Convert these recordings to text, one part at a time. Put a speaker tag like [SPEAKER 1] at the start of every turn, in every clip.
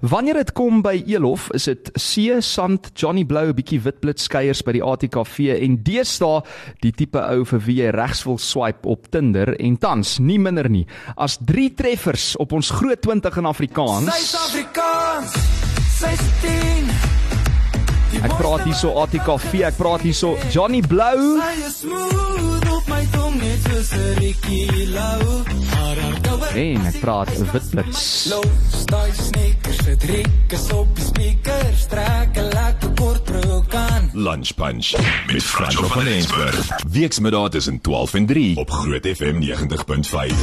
[SPEAKER 1] Wanneer dit kom by Elof, is dit see, sand, Johnny Blou, 'n bietjie witblits skeiers by die ATKV en deesdae die tipe ou vir wie jy regs wil swipe op Tinder en tans nie minder nie as 3 treffers op ons groot 20 in Afrikaans.
[SPEAKER 2] Suid-Afrikaans. Sy's 10.
[SPEAKER 1] Ek praat hierso ATKV, ek praat hierso Ja- Johnny Blou.
[SPEAKER 2] Sy is smooth op my tong net soos 'n rikkie lou. Haar haar
[SPEAKER 1] En ek praat witblits.
[SPEAKER 2] Low style sneakers, dit reuk is op die speakers, trek 'n lekker kort broek aan.
[SPEAKER 3] Lunch Punch met Franco van Rensburg. Weksmiddag tussen 12 en 3 op Groot FM 90.5.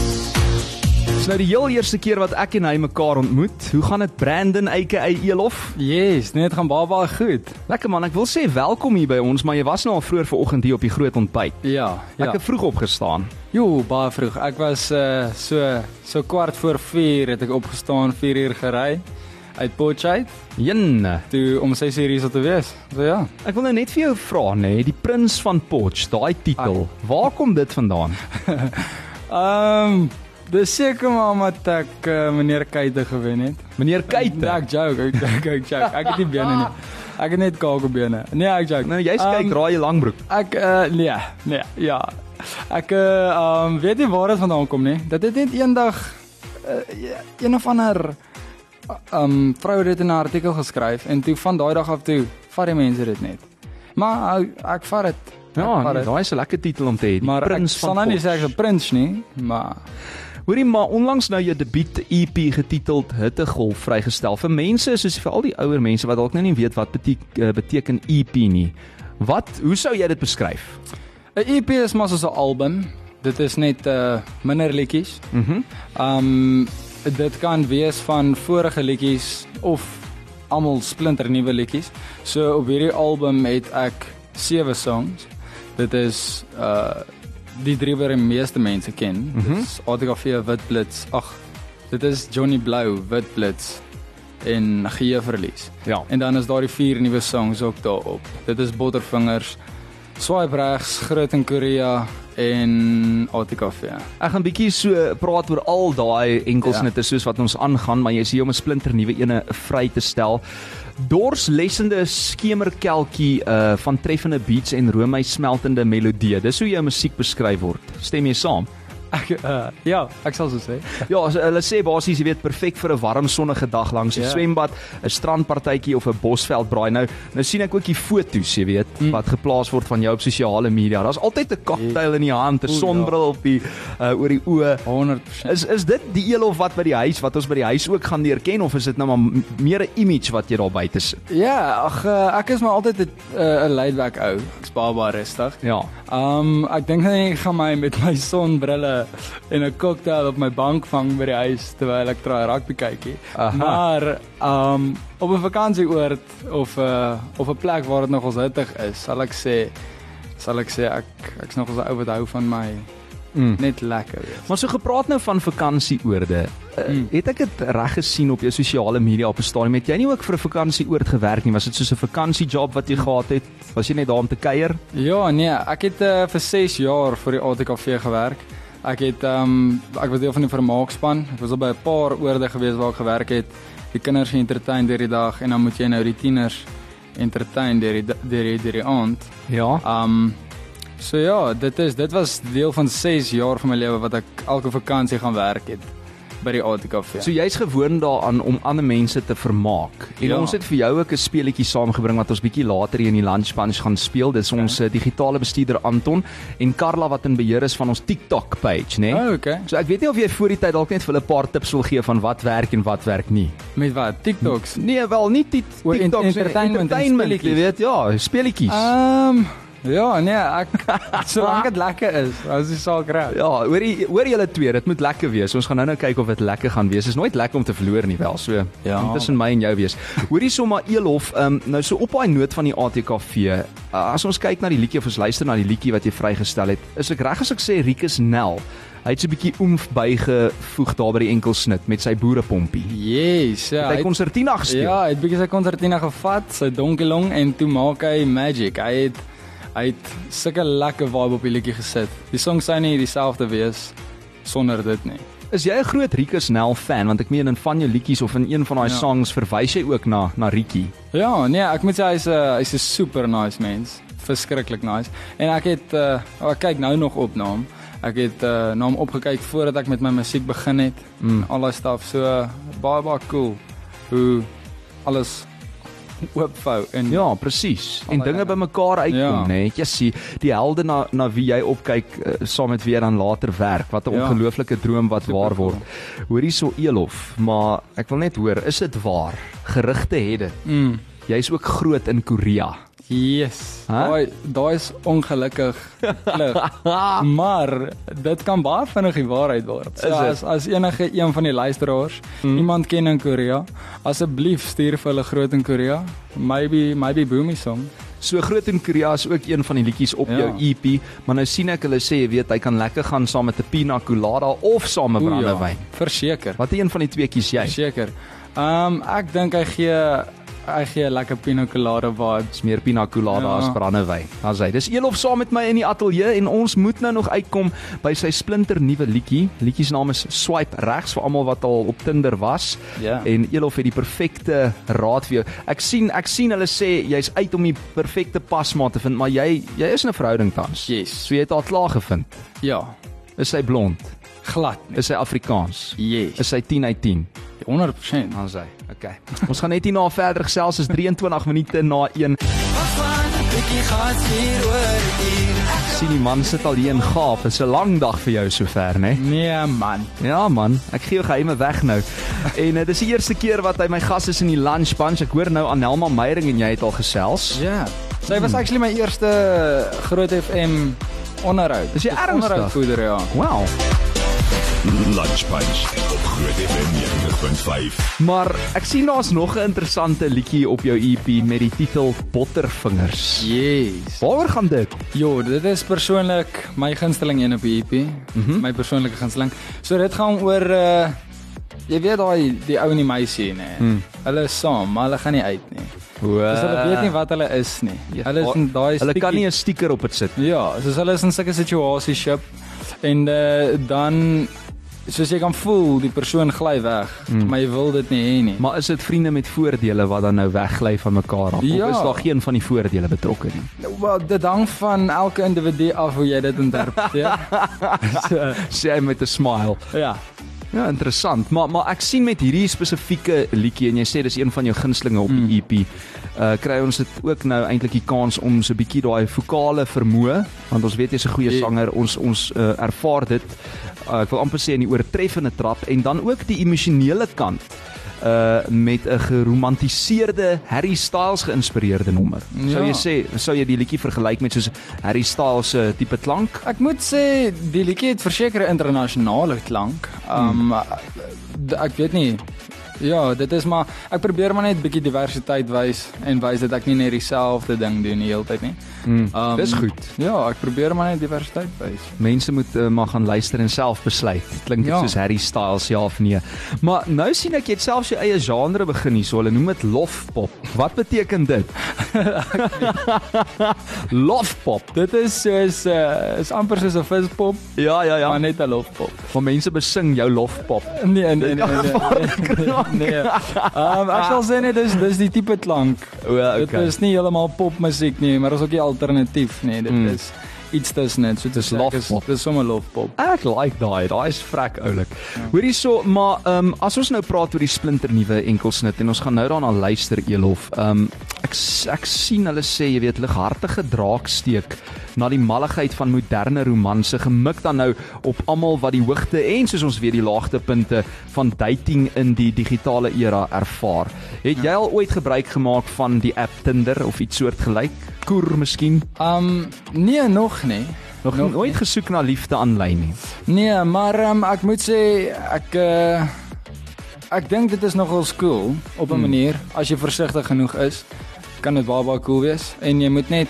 [SPEAKER 1] Dis nou die heel eerste keer wat ek en hy mekaar ontmoet. Hoe gaan dit Brandon aka Elof?
[SPEAKER 4] Yes, net gaan baba goed.
[SPEAKER 1] Lekker man, ek wil sê welkom hier by ons, maar jy was nou al vroeër vanoggend hier op die groot ontbyt.
[SPEAKER 4] Ja, ja.
[SPEAKER 1] Ek het vroeg opgestaan.
[SPEAKER 4] Jo, baie vroeg. Ek was uh so so kwart voor 4 het ek opgestaan, 4 uur gery uit Potchefstroom
[SPEAKER 1] Jen,
[SPEAKER 4] toe om 6 uur hier sou te wees. So ja.
[SPEAKER 1] ek wil nou net vir jou vra nê, nee, die prins van Potch, daai titel, waar kom dit vandaan?
[SPEAKER 4] Ehm um, dis seker maar omdat ek uh, meneer Kuyte gewen het.
[SPEAKER 1] Meneer
[SPEAKER 4] Nee,
[SPEAKER 1] Kuyte.
[SPEAKER 4] ek joke, ek joke, ek joke. Ek het nie bene nie. Ek het net kakelbene. Nee, ek joke.
[SPEAKER 1] Nou jy's kyk
[SPEAKER 4] Ehm,
[SPEAKER 1] raai jy langbroek.
[SPEAKER 4] Ek uh, nee, nee, ja. Ek uh, um, weet nie waar dit vandaan kom nie. Dit het net eendag uh, een of ander uh, um vrou het dit in 'n artikel geskryf en toe van daai dag af toe vat die mense dit net. Maar uh, ek vat dit. Ek
[SPEAKER 1] Ja,
[SPEAKER 4] vat
[SPEAKER 1] nee,
[SPEAKER 4] dit.
[SPEAKER 1] daai is 'n lekker titel om te hê, die
[SPEAKER 4] maar ek
[SPEAKER 1] prins
[SPEAKER 4] sal
[SPEAKER 1] van
[SPEAKER 4] nou nie
[SPEAKER 1] Potch.
[SPEAKER 4] sê ek is 'n prins nie, maar
[SPEAKER 1] Hoorie maar onlangs nou jou debuut EP getiteld Hittegolf vrygestel. Vir mense soos veral die ouer mense wat dalk nou nie weet wat beteken, eh, beteken EP nie. Wat hoe sou jy dit beskryf?
[SPEAKER 4] 'n EP is maar soos 'n album. Dit is net uh minder liedjies. Mhm. um dit kan wees van vorige liedjies of almal splinternuwe liedjies. So op hierdie album het ek sewe songs. Dit is uh die drie wat die meeste mense ken. Mm -hmm. Dit is ATKV Wit Blits. Ag, dit is Johnny Blou Wit Blits en Gee verlies.
[SPEAKER 1] Ja.
[SPEAKER 4] En dan is daar die vier nuwe songs ook daarop. Dit is Bottervingers, Swipe regs, Groot in Korea en ATKV.
[SPEAKER 1] Ek gaan bietjie so eh, praat oor al daai enkelsnitte
[SPEAKER 4] Ja.
[SPEAKER 1] soos wat ons aangaan, maar jy's hier om 'n splinternuwe ene vry te stel. Dorslessende skemerkelkie uh van treffende beats en roomys smeltende melodieë. Dis hoe jou musiek beskryf word. Stem jy saam?
[SPEAKER 4] Ek uh, ja, ek sal so sê.
[SPEAKER 1] Ja, as- hulle sê basies jy weet perfek vir 'n warm sonnige dag langs 'n
[SPEAKER 4] Ja.
[SPEAKER 1] swembad, 'n strandpartytjie of 'n bosveld braai. Nou, nou sien ek ook die foto's, jy weet,
[SPEAKER 4] Hmm.
[SPEAKER 1] mm. wat geplaas word van jou op sosiale media. Daar's altyd 'n cocktail in die hand, 'n
[SPEAKER 4] ja.
[SPEAKER 1] sonbril op die uh, oor die oë.
[SPEAKER 4] 100%.
[SPEAKER 1] Is is dit die elof wat by die huis wat ons by die huis ook gaan leer ken of is dit nou maar m- meer 'n image wat jy daar buite sit?
[SPEAKER 4] Ja, ag eh, ek is maar altyd 'n eh, 'n laidback ou. Ek's baie baie rustig.
[SPEAKER 1] Ja.
[SPEAKER 4] Um ek dink net ek gaan my met my sonbrille en 'n cocktail op my bank vang by die huis terwyl ek traai rugby kykie.
[SPEAKER 1] Aha.
[SPEAKER 4] Maar um op 'n vakansieoord of 'n uh, of 'n plek waar dit nogals hittig is, sal ek sê sal ek sê ek ek's nogals 'n ou wat hou van my
[SPEAKER 1] Mm.
[SPEAKER 4] net lekker wees.
[SPEAKER 1] Maar so gepraat nou van vakansieoorde. Uh,
[SPEAKER 4] Mm.
[SPEAKER 1] het ek dit reg gesien op jou sosiale media op 'n stadium? Het jy nie ook vir 'n vakansieoord gewerk nie? Was dit soos 'n vakansiejob wat jy gehad het? Was jy net daar om te kuier?
[SPEAKER 4] Ja, nee, ek het uh, vir 6 jaar vir die ATKV gewerk. Ek het um ek was deel van die vermaakspan. Ek was al by 'n paar oorde gewees waar ek gewerk het. Die kinders geëntertain deur die dag en dan moet jy nou die tieners entertain deur die da- deur die deur die aand.
[SPEAKER 1] Ja.
[SPEAKER 4] Um so ja, dit is dit was deel van 6 jaar van my lewe wat ek elke vakansie gaan werk het by die ATKV.
[SPEAKER 1] So jy's gewoond daaraan om ander mense te vermaak. En
[SPEAKER 4] Ja.
[SPEAKER 1] ons het vir jou ook 'n speletjie saamgebring wat ons bietjie later hier in die lunch punch gaan speel. Dis ons eh, digitale bestuurder Anton en Karla wat in beheer is van ons TikTok page, né?
[SPEAKER 4] oh, okay.
[SPEAKER 1] So ek weet nie of jy voor die tyd dalk net vir hulle 'n paar tips wil gee van wat werk en wat werk nie.
[SPEAKER 4] Met wat? TikToks.
[SPEAKER 1] Nee, wel nie die
[SPEAKER 4] O, en-
[SPEAKER 1] TikToks nie,
[SPEAKER 4] entertainment en
[SPEAKER 1] entertainment jy
[SPEAKER 4] speletjies.
[SPEAKER 1] weet ja, speletjies.
[SPEAKER 4] Um ja, nee, ek solank dit lekker is, as jy sal kry.
[SPEAKER 1] Ja, hoor jy hoor julle twee, dit moet lekker wees. Ons gaan nou nou kyk of dit lekker gaan wees. Is nooit lekker om te verloor nie wel, so.
[SPEAKER 4] Ja.
[SPEAKER 1] moet Tussen my en jou wees. Hoorie sommer Eelhof, ehm um, nou so op daai noot van die ATKV. Uh, as ons kyk na die liedjie of ons luister na die liedjie wat jy vrygestel het, is ek reg as ek sê Rikus Nel. Hy het so 'n bietjie oomf bygevoeg daar by die enkelsnit met sy boerepompie.
[SPEAKER 4] Yes, ja.
[SPEAKER 1] Ja, hy konsertina gespeel.
[SPEAKER 4] ja, hy het bietjie sy konsertina gevat, sy donkelong en toe maak hy magic. Hy het hy het sulke lekker vibe op die liedjie gesit. Die song sou nie dieselfde wees sonder dit nie.
[SPEAKER 1] Is jy 'n groot Rieke Snell fan want ek meen in van jou liedjies of in een van daai
[SPEAKER 4] Ja.
[SPEAKER 1] songs verwys jy ook na na Rieke.
[SPEAKER 4] Ja, nee, ek moet sê hy's 'n hy's 'n super nice mens. Verskriklik nice. En ek het uh oh, ek kyk nou nog op na hom. Ek het uh na hom opgekyk voordat ek met my musiek begin het
[SPEAKER 1] Mm.
[SPEAKER 4] en al daai stuff. So uh, baie baie cool hoe alles oopvou en
[SPEAKER 1] Ja, presies. En dinge
[SPEAKER 4] Allei Hmm. dinge.
[SPEAKER 1] bymekaar uitkom,
[SPEAKER 4] Ja.
[SPEAKER 1] nê. Nee. Jessie, die helde na na wie jy opkyk uh, saam met wie jy dan later werk. Wat 'n
[SPEAKER 4] Ja.
[SPEAKER 1] ongelooflike droom wat
[SPEAKER 4] Super
[SPEAKER 1] waar
[SPEAKER 4] cool.
[SPEAKER 1] word. Hoor hierso Elof, maar ek wil net hoor, is dit waar? Gerugte het dit.
[SPEAKER 4] Mm.
[SPEAKER 1] Jy's ook groot in Korea.
[SPEAKER 4] Yes.
[SPEAKER 1] Huh?
[SPEAKER 4] Daai daai is ongelukkig klip. maar dit kan baie vinnig die waarheid word. So
[SPEAKER 1] Is dit? Mhm.
[SPEAKER 4] as as enige een van die luisteraars mm. iemand ken in Korea, asseblief stuur vir hulle groot in Korea. Maybe maybe Boomy song.
[SPEAKER 1] So groot in Korea is ook een van die liedjies op
[SPEAKER 4] Ja.
[SPEAKER 1] jou EP, maar nou sien ek hulle sê jy weet hy kan lekker gaan saam met 'n pina colada of saam met
[SPEAKER 4] Oeh, ja,
[SPEAKER 1] brandewyn.
[SPEAKER 4] Verseker.
[SPEAKER 1] Watter een van die twee kies jy?
[SPEAKER 4] Verseker. Ehm um, ek dink hy gee hy gee lekker pina colada vibe.
[SPEAKER 1] Dis meer pina colada
[SPEAKER 4] Ja.
[SPEAKER 1] as brandewyn. Daar's hy. Dis Elof saam met my in die ateljee en ons moet nou nog uitkom by sy splinter nuwe liedjie. Liedjie se naam is Swipe regs vir almal wat al op Tinder was.
[SPEAKER 4] Ja.
[SPEAKER 1] En Elof het die perfekte raad vir jou. Ek sien ek sien hulle sê jy's uit om die perfekte pasmaat te vind, maar jy jy is in 'n verhouding tans.
[SPEAKER 4] Yes.
[SPEAKER 1] So jy het haar klaar gevind.
[SPEAKER 4] Ja,
[SPEAKER 1] Is sy blond?
[SPEAKER 4] glad. nie.
[SPEAKER 1] Is sy Afrikaans?
[SPEAKER 4] Yes.
[SPEAKER 1] Is sy 10 uit 10?
[SPEAKER 4] 100%.
[SPEAKER 1] Dan sê, okay. Ons gaan net hierna verder gesels is 23 minute na 1.
[SPEAKER 2] Wat van 'n bietjie gas hier oor hier.
[SPEAKER 1] Sien die man sit al hier in gaaf. Dis 'n lang dag vir jou sover, né?
[SPEAKER 4] Nee man.
[SPEAKER 1] Ja man, ek gee jou geheime weg nou. En uh, dis die eerste keer wat hy my gas is in die lunch bunch. Ek hoor nou Anelma Meyering en jy het al gesels.
[SPEAKER 4] Ja. Sy
[SPEAKER 1] Hmm.
[SPEAKER 4] was actually my eerste Groot FM onderhoud.
[SPEAKER 1] Is jy
[SPEAKER 4] Dis
[SPEAKER 1] ernstig?
[SPEAKER 4] Onderhoudvoeder ja.
[SPEAKER 1] Wow.
[SPEAKER 3] Lunch Punch op Groot FM 90.5.
[SPEAKER 1] Maar ek sien daar's nog 'n interessante liedjie op jou EP met die titel
[SPEAKER 4] Ja.
[SPEAKER 1] Bottervingers.
[SPEAKER 4] Yes.
[SPEAKER 1] Waaroor gaan dit?
[SPEAKER 4] Jo, dit is persoonlik my gunsteling een op die EP. Mm
[SPEAKER 1] Mhm.
[SPEAKER 4] -hmm. My persoonlike gunsteling. So dit gaan oor uh jy weet daai die ou en die meisie nê.
[SPEAKER 1] Hmm.
[SPEAKER 4] Mm. Hulle is saam, maar hulle gaan nie uit nie. Dus hulle weet nie wat hulle is nie.
[SPEAKER 1] Eh, Ja,
[SPEAKER 4] Hulle is in daai
[SPEAKER 1] Hulle kan
[SPEAKER 4] sticky-
[SPEAKER 1] nie 'n sticker op dit sit nie.
[SPEAKER 4] Ja, soos hulle is in sulke situasieship en uh, dan soos jy kan voel, die persoon gly weg,
[SPEAKER 1] Hmm.
[SPEAKER 4] mm. maar jy wil dit nie hê nie.
[SPEAKER 1] Maar is dit vriende met voordele wat dan nou weggly van mekaar af?
[SPEAKER 4] Ja.
[SPEAKER 1] Of is daar geen van die voordele betrokke nie?
[SPEAKER 4] Wel, dit hang van elke individu af hoe jy dit ja. interpreteer. so,
[SPEAKER 1] Sê hy met 'n smile.
[SPEAKER 4] ja.
[SPEAKER 1] Ja, interessant. Maar maar ek sien met hierdie spesifieke liedjie en jy sê dis een van jou gunstelinge op die EP. Uh kry ons dit ook nou eintlik die kans om so 'n bietjie daai vokale vermoë, want ons weet jy's 'n goeie
[SPEAKER 4] Ja.
[SPEAKER 1] sanger. Ons ons uh, ervaar dit. Uh, ek wil amper sê in die oortreffende trap en dan ook die emosionele kant uh met 'n geromantiseerde Harry Styles geïnspireerde nommer. Ja. Sou
[SPEAKER 4] Ja.
[SPEAKER 1] jy sê sou jy die liedjie vergelyk met soos Harry Styles se tipe klank?
[SPEAKER 4] Ek moet sê die liedjie het verseker 'n internasionale klank. Um mm. ek weet nie. Ja, dit is maar ek probeer maar net 'n bietjie diversiteit wys en wys dat ek nie net dieselfde ding doen die hele tyd nie.
[SPEAKER 1] Mm.
[SPEAKER 4] Um,
[SPEAKER 1] Dis goed.
[SPEAKER 4] Ja, ek probeer maar net diversiteit wys.
[SPEAKER 1] Mense moet uh, maar gaan luister en self besluit. Klink dit ja.
[SPEAKER 4] Ja.
[SPEAKER 1] soos Harry Styles ja of nee. Maar nou sien ek jy het selfs jou eie genre begin hierso. Hulle noem dit lofpop. Wat beteken dit? lofpop.
[SPEAKER 4] Dit is soos uh, is amper soos 'n vispop,
[SPEAKER 1] Ja ja ja.
[SPEAKER 4] maar net 'n lofpop.
[SPEAKER 1] Van mense besing jou lofpop.
[SPEAKER 4] Nee, nee, nee. nee, nee. nee. Um, ek sal sê net dis dis die tipe klank.
[SPEAKER 1] O, ja,
[SPEAKER 4] Dit is nie heeltemal popmusiek nie, maar is ook nie alternatief nie. Dit
[SPEAKER 1] Mm.
[SPEAKER 4] mm. is iets tussen net. So dis
[SPEAKER 1] lofpop.
[SPEAKER 4] Dis sommer lofpop.
[SPEAKER 1] Ek like daai. Daai is vrek oulik. Hoor hierso, maar ehm um, as ons nou praat oor die splinternuwe enkelsnit en ons gaan nou daarna luister Elof. Ehm um, ek s- ek sien hulle sê jy weet lighartige draaksteek na die malligheid van moderne romanse gemik dan nou op almal wat die hoogte en soos ons weet die laagtepunte van dating in die digitale era ervaar. Het jy al ooit gebruik gemaak van die app Tinder of iets soortgelyk? Koer miskien?
[SPEAKER 4] Um nee, nog nie.
[SPEAKER 1] Nog, nog nooit gesoek na liefde aanlyn nie.
[SPEAKER 4] Nee, maar um, ek moet sê ek uh, ek dink dit is nogal cool op 'n mm. manier as jy versigtig genoeg is, kan dit baie baie cool wees en jy moet net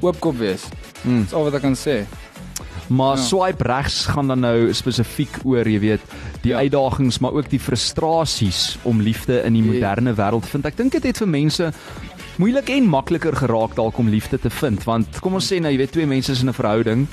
[SPEAKER 4] oopkop wees.
[SPEAKER 1] Mm.
[SPEAKER 4] Dis al wat ek kan sê.
[SPEAKER 1] Maar ja.
[SPEAKER 4] Ja.
[SPEAKER 1] swipe regs gaan dan nou spesifiek oor, jy weet, die ja.
[SPEAKER 4] Ja.
[SPEAKER 1] uitdagings, maar ook die frustrasies om liefde in die
[SPEAKER 4] Ja.
[SPEAKER 1] moderne wêreld te vind. Ek dink dit het vir mense moeilik en makliker geraak dalk om liefde te vind, want kom ons sê nou, jy weet, twee mense is in 'n verhouding.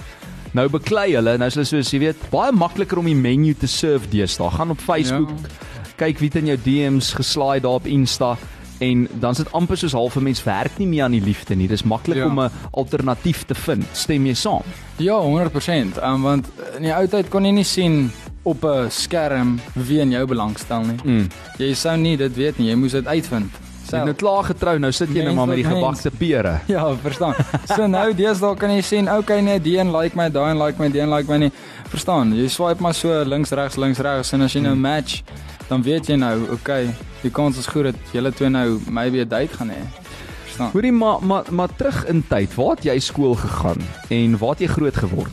[SPEAKER 1] Nou beklei hulle, nou is hulle soos jy weet, baie makliker om die menu te surf deesdae. Gaan op Facebook,
[SPEAKER 4] Ja.
[SPEAKER 1] kyk wie het in jou DM's geslaai daar op Insta en dan sit amper soos half 'n mens werk nie meer aan die liefde nie. Dis maklik
[SPEAKER 4] Ja.
[SPEAKER 1] om 'n alternatief te vind. Stem jy saam?
[SPEAKER 4] Ja, 100%. Um, want in die ou tyd kon jy nie sien op 'n skerm wie in jou belangstel nie.
[SPEAKER 1] Mm.
[SPEAKER 4] Jy sou nie dit weet nie, jy moes dit uitvind.
[SPEAKER 1] Jy het nou klaar getrou, nou sit jy nou
[SPEAKER 4] Mens
[SPEAKER 1] maar met die
[SPEAKER 4] tot mens.
[SPEAKER 1] gebakte pere.
[SPEAKER 4] Ja, verstaan. So nou deesdae kan jy sien, okay nee, die een like my, daai een like my, die een like my nie. Verstaan? Jy swipe maar so links regs links regs en as jy nou match, dan weet jy nou, okay, die kans is goed dat julle twee nou maybe 'n date gaan hê. Verstaan?
[SPEAKER 1] Hoorie maar maar maar terug in tyd, waar het jy skool gegaan en waar het jy groot geword?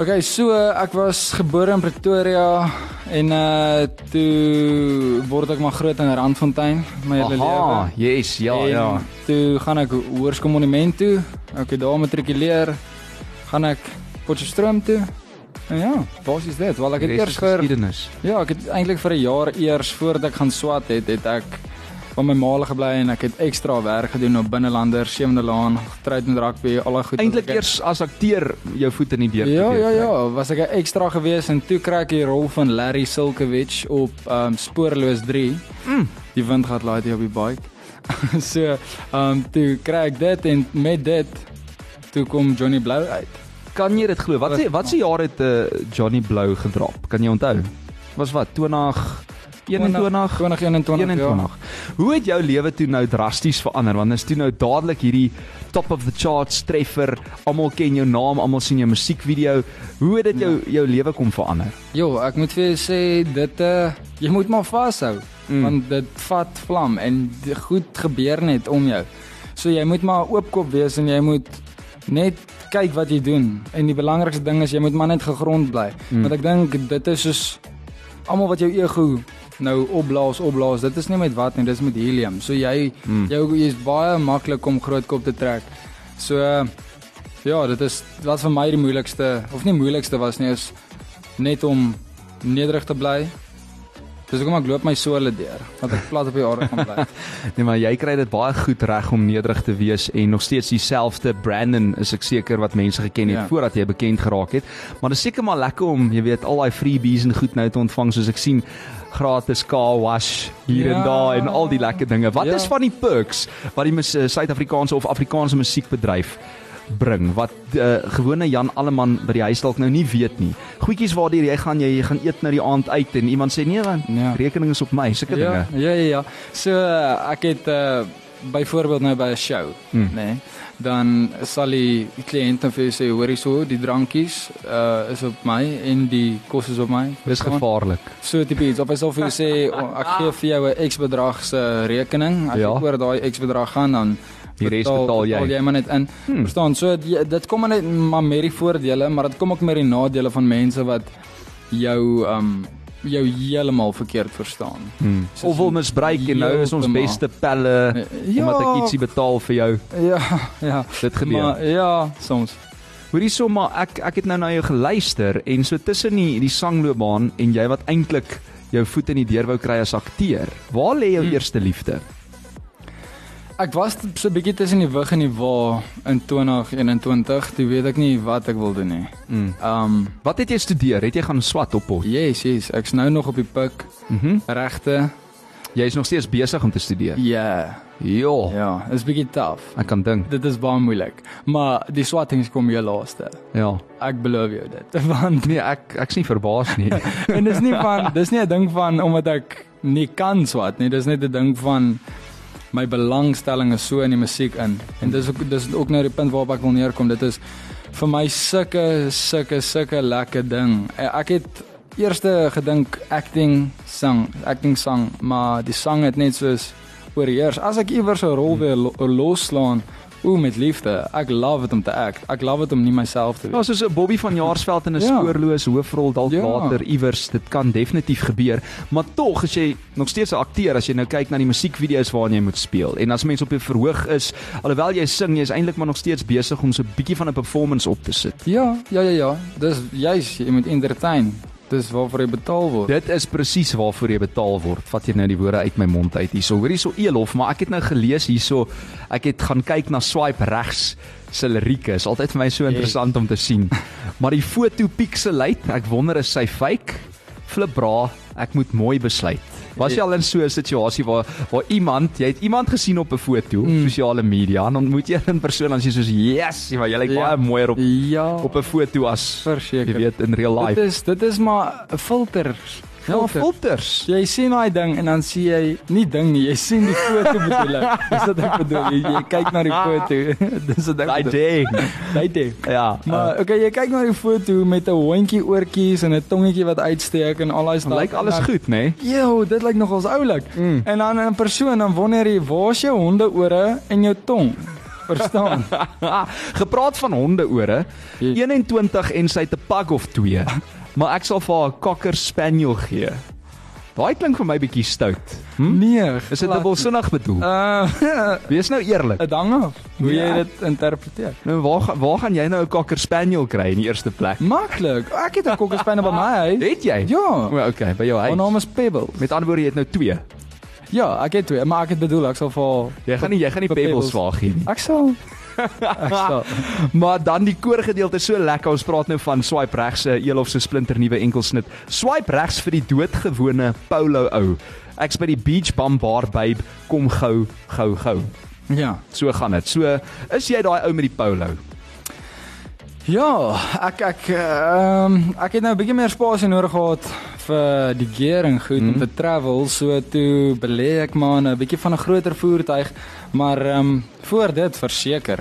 [SPEAKER 4] Okay, so ek was gebore in Pretoria en uh toe word ek maar groot in Randfontein my hele lewe.
[SPEAKER 1] Aha, yes, ja,
[SPEAKER 4] En
[SPEAKER 1] ja.
[SPEAKER 4] Toe gaan ek Hoërskool Monument toe. Ek het daar matrikuleer. Gaan ek Potchefstroom toe. En ja, basies dit. Wel ek
[SPEAKER 1] Die res
[SPEAKER 4] het eers
[SPEAKER 1] is
[SPEAKER 4] vir
[SPEAKER 1] geskiedenis.
[SPEAKER 4] ja, ek het eintlik vir 'n jaar eers voordat ek gaan swat het, het ek van my maal gebly en ek het ekstra werk gedoen op binnelander, sewende laan, getroud met rugby, al daai goed. wat
[SPEAKER 1] Eintlik
[SPEAKER 4] ek-
[SPEAKER 1] eers as akteur jou voet in die deur
[SPEAKER 4] Ja, ja,
[SPEAKER 1] geweet het.
[SPEAKER 4] ja, was ek 'n ekstra gewees en toe kry ek die rol van Larry Silkewich op um Spoorloos 3. Mm. Die wind gaan laai hier op die bike. so, um toe kry ek dit en met dit toe kom Johnny Blou uit.
[SPEAKER 1] Kan jy dit glo? Wat sê wat se jaar het eh, Johnny Blou gedrap? Kan jy onthou? Was wat 20 21
[SPEAKER 4] 2021.
[SPEAKER 1] 21. Ja. Hoe het jou lewe toe nou drasties verander? Want is toe nou dadelik hierdie top of the charts treffer. Almal ken jou naam, almal sien jou musiekvideo. Hoe het dit jou jou lewe kom verander?
[SPEAKER 4] Jo, ek moet vir jou sê dit uh jy moet maar vashou mm. want dit vat vlam en die goed gebeur net om jou. So jy moet maar oopkop wees en jy moet net kyk wat jy doen. En die belangrikste ding is jy moet maar net gegrond bly. Mm. Want ek dink dit is soos almal wat jou ego nou opblaas opblaas dit is nie met wat nie dis met helium so jy mm. jou jy's baie maklik om grootkop te trek so eh, ja dit is wat vir my die moeilikste of nie moeilikste was nie is net om nederig te bly dis hoekom ek loop my sole deur want ek plat op die aarde gaan bly
[SPEAKER 1] Nee, maar jy kry dit baie goed reg om nederig te wees en nog steeds dieselfde Brandon is ek seker wat mense geken het
[SPEAKER 4] Ja.
[SPEAKER 1] voordat jy bekend geraak het. Maar dit is seker maar lekker om, jy weet, al daai freebies en goed nou te ontvang soos ek sien gratis car wash hier ja. en
[SPEAKER 4] Ja.
[SPEAKER 1] daar en al die lekker dinge. Wat ja.
[SPEAKER 4] Ja.
[SPEAKER 1] is van die perks wat die mus- eh, Suid-Afrikaanse of Afrikaanse musiekbedryf bring wat uh, gewone Jan Alleman by die huis dalk nou nie weet nie. Goedjies waardeur jy gaan jy, jy gaan eet nou die aand uit en iemand sê nee want ja.
[SPEAKER 4] Ja.
[SPEAKER 1] rekening is op my, sulke ja.
[SPEAKER 4] ja,
[SPEAKER 1] dinge.
[SPEAKER 4] ja, ja, ja. So eh, ek het uh, byvoorbeeld nou by 'n show,
[SPEAKER 1] Hmm.
[SPEAKER 4] mm. nê, nee, dan sal die die kliënt dan vir jou sê, hoor hierso, die drankies uh, is op my en die kos is op my.
[SPEAKER 1] Dis gevaarlik.
[SPEAKER 4] So tipe iets. Of hy sal vir jou sê, "O, ek gee vir jou 'n X bedrag se rekening. As
[SPEAKER 1] Ah. Ja.
[SPEAKER 4] ja. jy oor daai X bedrag gaan dan
[SPEAKER 1] Die res betaal jy.
[SPEAKER 4] Betaal jy maar net in. Hmm. Verstaan? So dit, dit kom maar net maar met die voordele, maar dit kom ook met die nadele van mense wat jou um jou heeltemal verkeerd verstaan.
[SPEAKER 1] Hmm.
[SPEAKER 4] Soos
[SPEAKER 1] Of wil misbruik en nou is ons
[SPEAKER 4] heeltemal.
[SPEAKER 1] beste pelle ja.
[SPEAKER 4] Ja.
[SPEAKER 1] omdat ek ietsie betaal vir jou.
[SPEAKER 4] Ja, ja.
[SPEAKER 1] Dit gebeur.
[SPEAKER 4] Maar ja, soms.
[SPEAKER 1] Hoorie so maar ek ek het nou na jou geluister en so tussen die die sangloopbaan en jy wat eintlik jou voet in die deur wou kry as akteur. Waar lê jou hmm. eerste liefde?
[SPEAKER 4] Ek was t- so 'n bietjie tussen die wig en die wa in 2021. Toe weet ek nie wat ek wil doen nie.
[SPEAKER 1] Mm.
[SPEAKER 4] Um
[SPEAKER 1] Wat het jy studeer? Het jy gaan swat op hom?
[SPEAKER 4] yes, yes, ek's nou nog op die pik
[SPEAKER 1] Mhm.
[SPEAKER 4] regte.
[SPEAKER 1] Jy is nog steeds besig om te studeer.
[SPEAKER 4] Ja.
[SPEAKER 1] Jo,
[SPEAKER 4] Ja, is bietjie taaf.
[SPEAKER 1] ek kan dink.
[SPEAKER 4] Dit is baie moeilik, maar die swattings kom heel laaste.
[SPEAKER 1] Ja.
[SPEAKER 4] Ek beloof jou dit. Want
[SPEAKER 1] Nee, ek ek's nie verbaas nie.
[SPEAKER 4] en dis nie van dis nie 'n ding van omdat ek nie kan swat nie, dis net 'n ding van my belangstelling is so in die musiek in. En dis ook dis ook nou die punt waarop ek wil neerkom. Dit is vir my sulke sulke sulke lekker ding. Eh, Ek het eerste gedink acting sang, acting sang, maar die sang het net soos oorheers. As ek iewers 'n rol wil lo- loslaan, o met liefde. Ek love dit om te act. Ek love dit om nie myself te wees.
[SPEAKER 1] Ja, soos 'n Bobby van Jaarsveld in 'n
[SPEAKER 4] Ja.
[SPEAKER 1] spoorloos hoofrol dalk
[SPEAKER 4] Ja.
[SPEAKER 1] later iewers, dit kan definitief gebeur, maar tog as jy nog steeds 'n akteur as jy nou kyk na die musiekvideo's waarin jy moet speel en as mens op die verhoog is, alhoewel jy sing, jy is eintlik maar nog steeds besig om so 'n bietjie van 'n performance op te sit.
[SPEAKER 4] Ja, ja ja ja. Dis juis jy moet entertain. Dis waarvoor jy betaal word.
[SPEAKER 1] Dit is presies waarvoor jy betaal word. Vat jy nou die woorde uit my mond uit hierso. Hoor hierso Elof, maar ek het nou gelees hierso, ek het gaan kyk na swipe regs se lirieke is altyd vir my so interessant om te sien. Maar die foto pixelate, ek wonder is sy fake? Flip bra, ek moet mooi besluit. Was jy al in so 'n situasie waar waar iemand, jy het iemand gesien op 'n foto op
[SPEAKER 4] Mm.
[SPEAKER 1] sosiale media en ontmoet jy in persoon en dan sê jy soos, "Yes, maar jy lyk
[SPEAKER 4] Ja.
[SPEAKER 1] baie mooier op
[SPEAKER 4] Ja.
[SPEAKER 1] op 'n foto as jy
[SPEAKER 4] verseker.
[SPEAKER 1] weet in real
[SPEAKER 4] Dit
[SPEAKER 1] life."
[SPEAKER 4] is dit is maar 'n filter.
[SPEAKER 1] Ja,
[SPEAKER 4] Filter.
[SPEAKER 1] filters.
[SPEAKER 4] Jy sien daai ding en dan sien jy nie ding nie, jy sien die foto bedoel ek. Dis wat ek bedoel. Jy, jy kyk na die foto. Dis wat ek
[SPEAKER 1] Daai
[SPEAKER 4] bedoel.
[SPEAKER 1] ding.
[SPEAKER 4] Daai ding.
[SPEAKER 1] Ja.
[SPEAKER 4] Maar okay, jy kyk na die foto met 'n hondjie oortjies en 'n tongetjie wat uitsteek en al daai
[SPEAKER 1] Dan
[SPEAKER 4] stuff.
[SPEAKER 1] lyk alles
[SPEAKER 4] En dan-
[SPEAKER 1] goed, né? Nee?
[SPEAKER 4] Ew, dit lyk nogals oulik. Mm. En dan 'n persoon dan wonder jy, waar's jou hondeore en jou tong? Verstaan?
[SPEAKER 1] Ah, gepraat van hondeore,
[SPEAKER 4] Yes.
[SPEAKER 1] 21 en sy het 'n pak of 2. Maar ek sal vir haar 'n cocker spaniel gee. Daai klink vir my bietjie stout.
[SPEAKER 4] nee.
[SPEAKER 1] Is dit
[SPEAKER 4] glad nie.
[SPEAKER 1] dubbelsinnig bedoel?
[SPEAKER 4] Uh,
[SPEAKER 1] Wees nou eerlik.
[SPEAKER 4] dit hang af hoe
[SPEAKER 1] Ja.
[SPEAKER 4] jy dit interpreteer.
[SPEAKER 1] Nou waar ga- waar gaan jy nou 'n cocker spaniel kry in die eerste plek?
[SPEAKER 4] Maklik. Ek het 'n kokkerspyn by my huis.
[SPEAKER 1] Het jy?
[SPEAKER 4] Ja.
[SPEAKER 1] O, okay, by jou
[SPEAKER 4] Haar
[SPEAKER 1] huis.
[SPEAKER 4] naam is Pebbles.
[SPEAKER 1] Met ander woorde, jy het nou 2.
[SPEAKER 4] Ja, ek het twee, maar ek het bedoel ek sal vir haar-
[SPEAKER 1] Jy gaan nie jy gaan nie
[SPEAKER 4] Vir
[SPEAKER 1] pebbles
[SPEAKER 4] pebbles.
[SPEAKER 1] vaag gee nie.
[SPEAKER 4] ek sal ek sal
[SPEAKER 1] Maar dan die koorgedeelte is so lekker. Ons praat nou van swipe regs se Elof se splinternuwe enkelsnit. Swipe regs vir die doodgewone polo ou. Ek's by die beach bum bar babe. Kom gou, gou, gou.
[SPEAKER 4] Ja.
[SPEAKER 1] So gaan dit. So is jy daai ou met die polo.
[SPEAKER 4] Ja, ek ek ehm ek het nou 'n bietjie meer spasie nodig gehad vir die gear en goed
[SPEAKER 1] Mhm.
[SPEAKER 4] mm. om te travel, so toe belê ek maar in 'n bietjie van 'n groter voertuig, maar ehm voor dit verseker.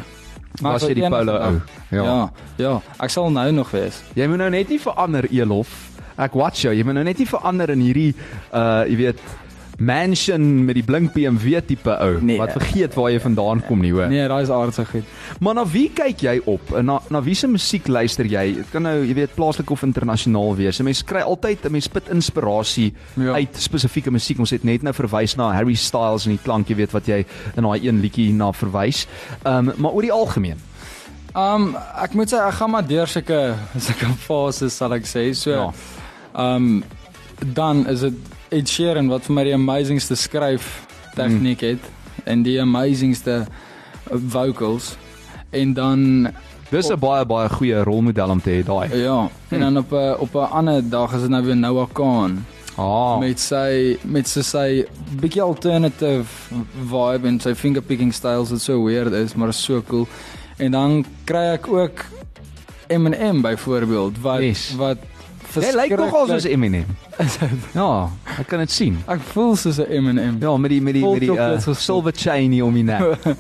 [SPEAKER 4] Maar
[SPEAKER 1] Was
[SPEAKER 4] vir
[SPEAKER 1] jy die
[SPEAKER 4] enige
[SPEAKER 1] polo
[SPEAKER 4] dag-
[SPEAKER 1] ou?
[SPEAKER 4] Ja. ja, ja, ek sal nou nog wees.
[SPEAKER 1] Jy moet nou net nie verander Elof. Ek watch jou. Jy moet nou net nie verander in hierdie uh jy weet mansion met die blink BMW tipe ou
[SPEAKER 4] Nee.
[SPEAKER 1] wat vergeet waar jy vandaan kom nie hoor.
[SPEAKER 4] Nee, daai is aardse goed.
[SPEAKER 1] Maar na wie kyk jy op? En Na na wiese musiek luister jy? Dit kan nou, jy weet, plaaslik of internasionaal wees. 'n Mens kry altyd 'n mens put inspirasie ja.
[SPEAKER 4] Ja.
[SPEAKER 1] uit spesifieke musiek. Ons het net nou verwys na Harry Styles en die klank, jy weet wat jy in daai een liedjie na verwys. Ehm um, maar oor die algemeen.
[SPEAKER 4] Um ek moet sê ek gaan maar deur sulke sulke fases sal ek sê. So
[SPEAKER 1] Ja.
[SPEAKER 4] ja. um dan is dit Ed Sheeran wat vir my die amazingste skryf tegniek
[SPEAKER 1] Hmm.
[SPEAKER 4] het en die amazingste eh, vocals en dan
[SPEAKER 1] Dis 'n baie baie goeie rolmodel om te hê daai.
[SPEAKER 4] ja, en
[SPEAKER 1] Hmm.
[SPEAKER 4] dan op 'n op 'n ander dag is dit nou weer Noah Kahn
[SPEAKER 1] Ah.
[SPEAKER 4] met sy met sy, sy bietjie alternative vibe en sy fingerpicking styles wat so weird is, maar is so cool. En dan kry ek ook M&M byvoorbeeld wat
[SPEAKER 1] Yes.
[SPEAKER 4] wat
[SPEAKER 1] Jy lyk nogal soos
[SPEAKER 4] verskriklik-
[SPEAKER 1] Eminem. Ja, ek kan dit sien.
[SPEAKER 4] Ek voel soos 'n M&M. Ja.
[SPEAKER 1] Ja, met die met die
[SPEAKER 4] Vol
[SPEAKER 1] met die uh,
[SPEAKER 4] chocolates gestop.
[SPEAKER 1] silver chain hier om die nek.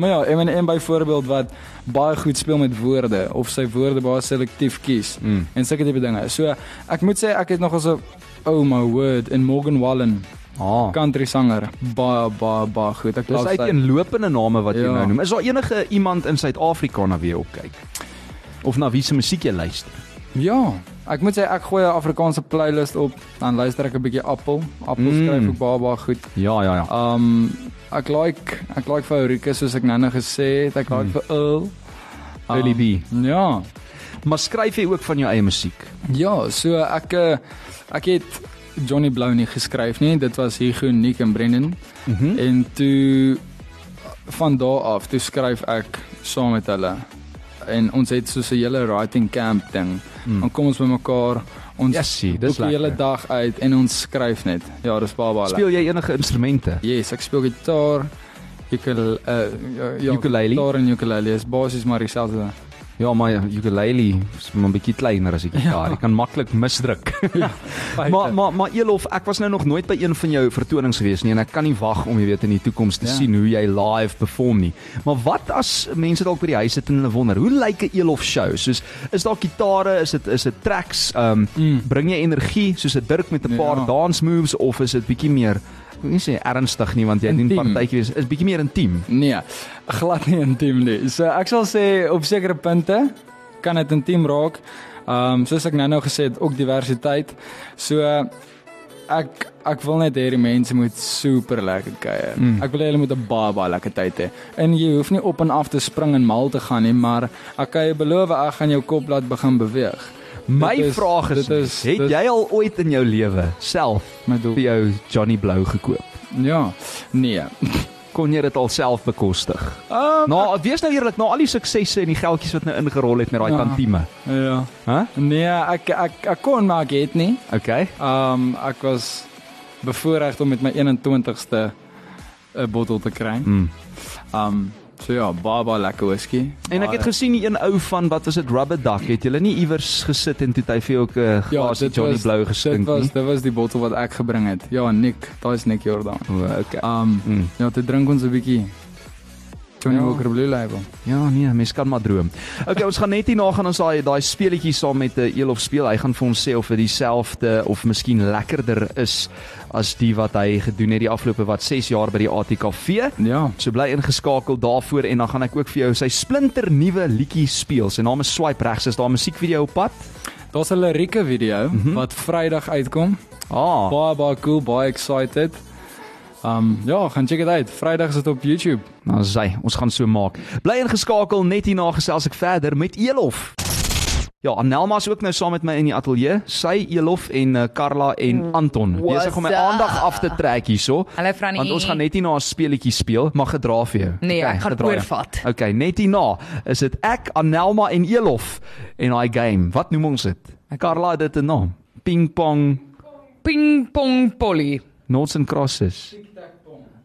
[SPEAKER 4] Maar ja, M&M byvoorbeeld wat baie goed speel met woorde of sy woorde baie selektief kies
[SPEAKER 1] Mm.
[SPEAKER 4] en sulke tipe dinge. So ek moet sê ek het nog as 'n oh my word en Morgan Wallen,
[SPEAKER 1] Ah.
[SPEAKER 4] country sanger, baie baie baie goed. Ek
[SPEAKER 1] Dis
[SPEAKER 4] love sy-
[SPEAKER 1] uiteenlopende name wat jy ja.
[SPEAKER 4] Ja.
[SPEAKER 1] nou noem. Is daar enige iemand in Suid-Afrika na wie jy opkyk? Of na wie se musiek jy luister?
[SPEAKER 4] Ja, ek moet sê ek gooi 'n Afrikaanse playlist op, dan luister ek 'n bietjie Appel. Appel
[SPEAKER 1] Mm.
[SPEAKER 4] mm. skryf ook baie baie goed.
[SPEAKER 1] Ja, ja, ja.
[SPEAKER 4] Um ek like ek like vir Eureka soos ek nou-nou gesê het, ek like mm. vir Earl. Um,
[SPEAKER 1] Ah, Early B.
[SPEAKER 4] Ja.
[SPEAKER 1] Maar skryf jy ook van jou eie musiek?
[SPEAKER 4] Ja, so ek eh, ek het Johnny Blou nie geskryf nie. Dit was Hugo, Nick en Brendan.
[SPEAKER 1] Mhm.
[SPEAKER 4] En toe van daar af, toe skryf ek saam met hulle. En ons het so 'n hele writing camp ding.
[SPEAKER 1] Mm.
[SPEAKER 4] Mm. Dan kom ons bymekaar, ons
[SPEAKER 1] Jessie, dis
[SPEAKER 4] boek die hele
[SPEAKER 1] lekker.
[SPEAKER 4] dag uit en ons skryf net. Ja, dis baie baie. lekker.
[SPEAKER 1] Speel jy enige instrumente?
[SPEAKER 4] Yes, ek speel gitaar. Ukul uh ja, ja,
[SPEAKER 1] Ukulele?
[SPEAKER 4] Gitaar en ukulele is basies maar dieselfde.
[SPEAKER 1] Ja, my ukulele is maar 'n bietjie kleiner as 'n gitaar. Jy kan maklik misdruk. maar maar maar Elof, ek was nou nog nooit by een van jou vertonings gewees nie en ek kan nie wag om jy weet in die toekoms te ja.
[SPEAKER 4] Ja.
[SPEAKER 1] sien hoe jy live perform nie. Maar wat as mense dalk by die huis sit en hulle wonder, hoe lyk 'n Elof show? Soos is daar gitare, is dit is dit tracks, ehm um,
[SPEAKER 4] Mm.
[SPEAKER 1] bring jy energie soos 'n Dirk met 'n paar ja.
[SPEAKER 4] Ja.
[SPEAKER 1] dance moves of is dit bietjie meer ek wil nie sê ernstig nie want jy doen
[SPEAKER 4] Intiem.
[SPEAKER 1] partytjies is bietjie meer intiem.
[SPEAKER 4] Nee, glad nie intiem nie. So ek sal sê op sekere punte kan dit intiem raak. Ehm um, soos ek nou-nou gesê het, ook diversiteit. So ek ek wil net hê die mense moet super lekker kuier. Mm. Ek wil hê hulle moet 'n baie baie lekker tyd hê. En jy hoef nie op en af te spring en mal te gaan nie, maar ek kan jou beloof ek gaan jou kop laat begin beweeg.
[SPEAKER 1] My
[SPEAKER 4] Dit is-
[SPEAKER 1] vraag is,
[SPEAKER 4] dit is-
[SPEAKER 1] het
[SPEAKER 4] dit-
[SPEAKER 1] jy al ooit in jou lewe self
[SPEAKER 4] My doel.
[SPEAKER 1] vir jou Johnny Blou gekoop?
[SPEAKER 4] Ja. Nee.
[SPEAKER 1] kon jy dit alself bekostig?
[SPEAKER 4] Ehm,
[SPEAKER 1] Nou, wees nou eerlik, nou al die suksesse en die geldjies wat nou ingerol het met daai
[SPEAKER 4] Ja.
[SPEAKER 1] tantieme,
[SPEAKER 4] ja.
[SPEAKER 1] hè?
[SPEAKER 4] Nee, ek ek ek kon maar ek het nie.
[SPEAKER 1] Okay.
[SPEAKER 4] Ehm ek was bevoorreg om met my 21ste 'n bottel te kry. Ehm
[SPEAKER 1] Mm.
[SPEAKER 4] so ja, baie baie lekker whisky.
[SPEAKER 1] En ek het
[SPEAKER 4] Maar,
[SPEAKER 1] gesien die een ou van wat was dit Rubber Duck, het julle nie iewers gesit en toe het hy vir jou ook 'n
[SPEAKER 4] Ja,
[SPEAKER 1] glasie
[SPEAKER 4] dit
[SPEAKER 1] Johnny
[SPEAKER 4] was-
[SPEAKER 1] Blue
[SPEAKER 4] dit
[SPEAKER 1] gestink
[SPEAKER 4] was
[SPEAKER 1] nie?
[SPEAKER 4] dit was die bottel wat ek gebring het. Ja, Nick, daai is Nick Jordan.
[SPEAKER 1] O, Okay.
[SPEAKER 4] Ehm
[SPEAKER 1] Mm.
[SPEAKER 4] ja, te drink ons 'n bietjie Johnny
[SPEAKER 1] Ja.
[SPEAKER 4] Walker Blue Label.
[SPEAKER 1] Ja, nee, mens kan maar droom. Okay, ons gaan net hierna gaan ons daai daai speletjie saam met 'n eel of speel. Hy gaan vir ons sê of dit dieselfde of miskien lekkerder is as die wat hy gedoen het die afgelope wat 6 jaar by die ATKV.
[SPEAKER 4] Ja.
[SPEAKER 1] So bly ingeskakel daarvoor en dan gaan ek ook vir jou sy splinter nuwe liedjie speel. Sy naam is Swipe Regs. Is daar 'n musiekvideo op pad?
[SPEAKER 4] Daar's 'n lirieke video mm -hmm. wat Vrydag uitkom.
[SPEAKER 1] Mhm. Ah,
[SPEAKER 4] Baie baie cool, baie excited. Ehm ja, gaan check dit uit. Vrydag is dit op YouTube.
[SPEAKER 1] nou sy, ons gaan so maak. Bly ingeskakel net hierna gesels ek verder met Elof. Ja, Annelma is ook nou saam met my in die ateljee. Sy, Elof en eh, Karla en Anton besig om my
[SPEAKER 5] Hmm. What's
[SPEAKER 1] aandag
[SPEAKER 5] up?
[SPEAKER 1] af te trek hierso.
[SPEAKER 5] Hallo Franny.
[SPEAKER 1] Want ons gaan net hierna 'n speletjie speel, maar gedra vir jou.
[SPEAKER 5] Nee,
[SPEAKER 1] Oké,
[SPEAKER 5] ek gaan
[SPEAKER 1] gedra jou.
[SPEAKER 5] oorvat.
[SPEAKER 1] Okay, net hierna is dit ek, Annelma en Elof en daai game. Wat noem ons dit? Karla, het dit 'n naam. Ping pong
[SPEAKER 5] Ping pong Polly.
[SPEAKER 1] Noughts and crosses.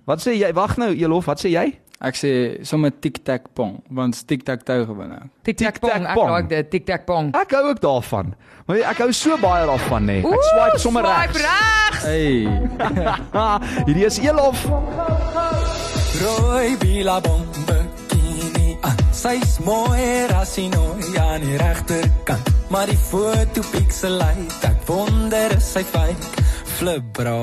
[SPEAKER 1] Wat sê jy? Wag nou, Elof, wat sê jy?
[SPEAKER 4] Ek sê sommer tic tac pong, want tic tac toe gewin ek.
[SPEAKER 5] Tic tac pong. Ek
[SPEAKER 1] Tic-tac-pong.
[SPEAKER 5] raak dit tic tac pong.
[SPEAKER 1] Ek hou ook daarvan. Maar ek hou so baie daarvan nê. Ek swipe sommer
[SPEAKER 5] swipe
[SPEAKER 1] reg.
[SPEAKER 5] regs.
[SPEAKER 4] Hey.
[SPEAKER 1] Ah, hierdie is Elof.
[SPEAKER 2] Rooi bila bom bikini aan. Sy's mooier as sy nooi aan die regterkant. Maar die foto pixelite, ek wonder is sy fake. Flip bra.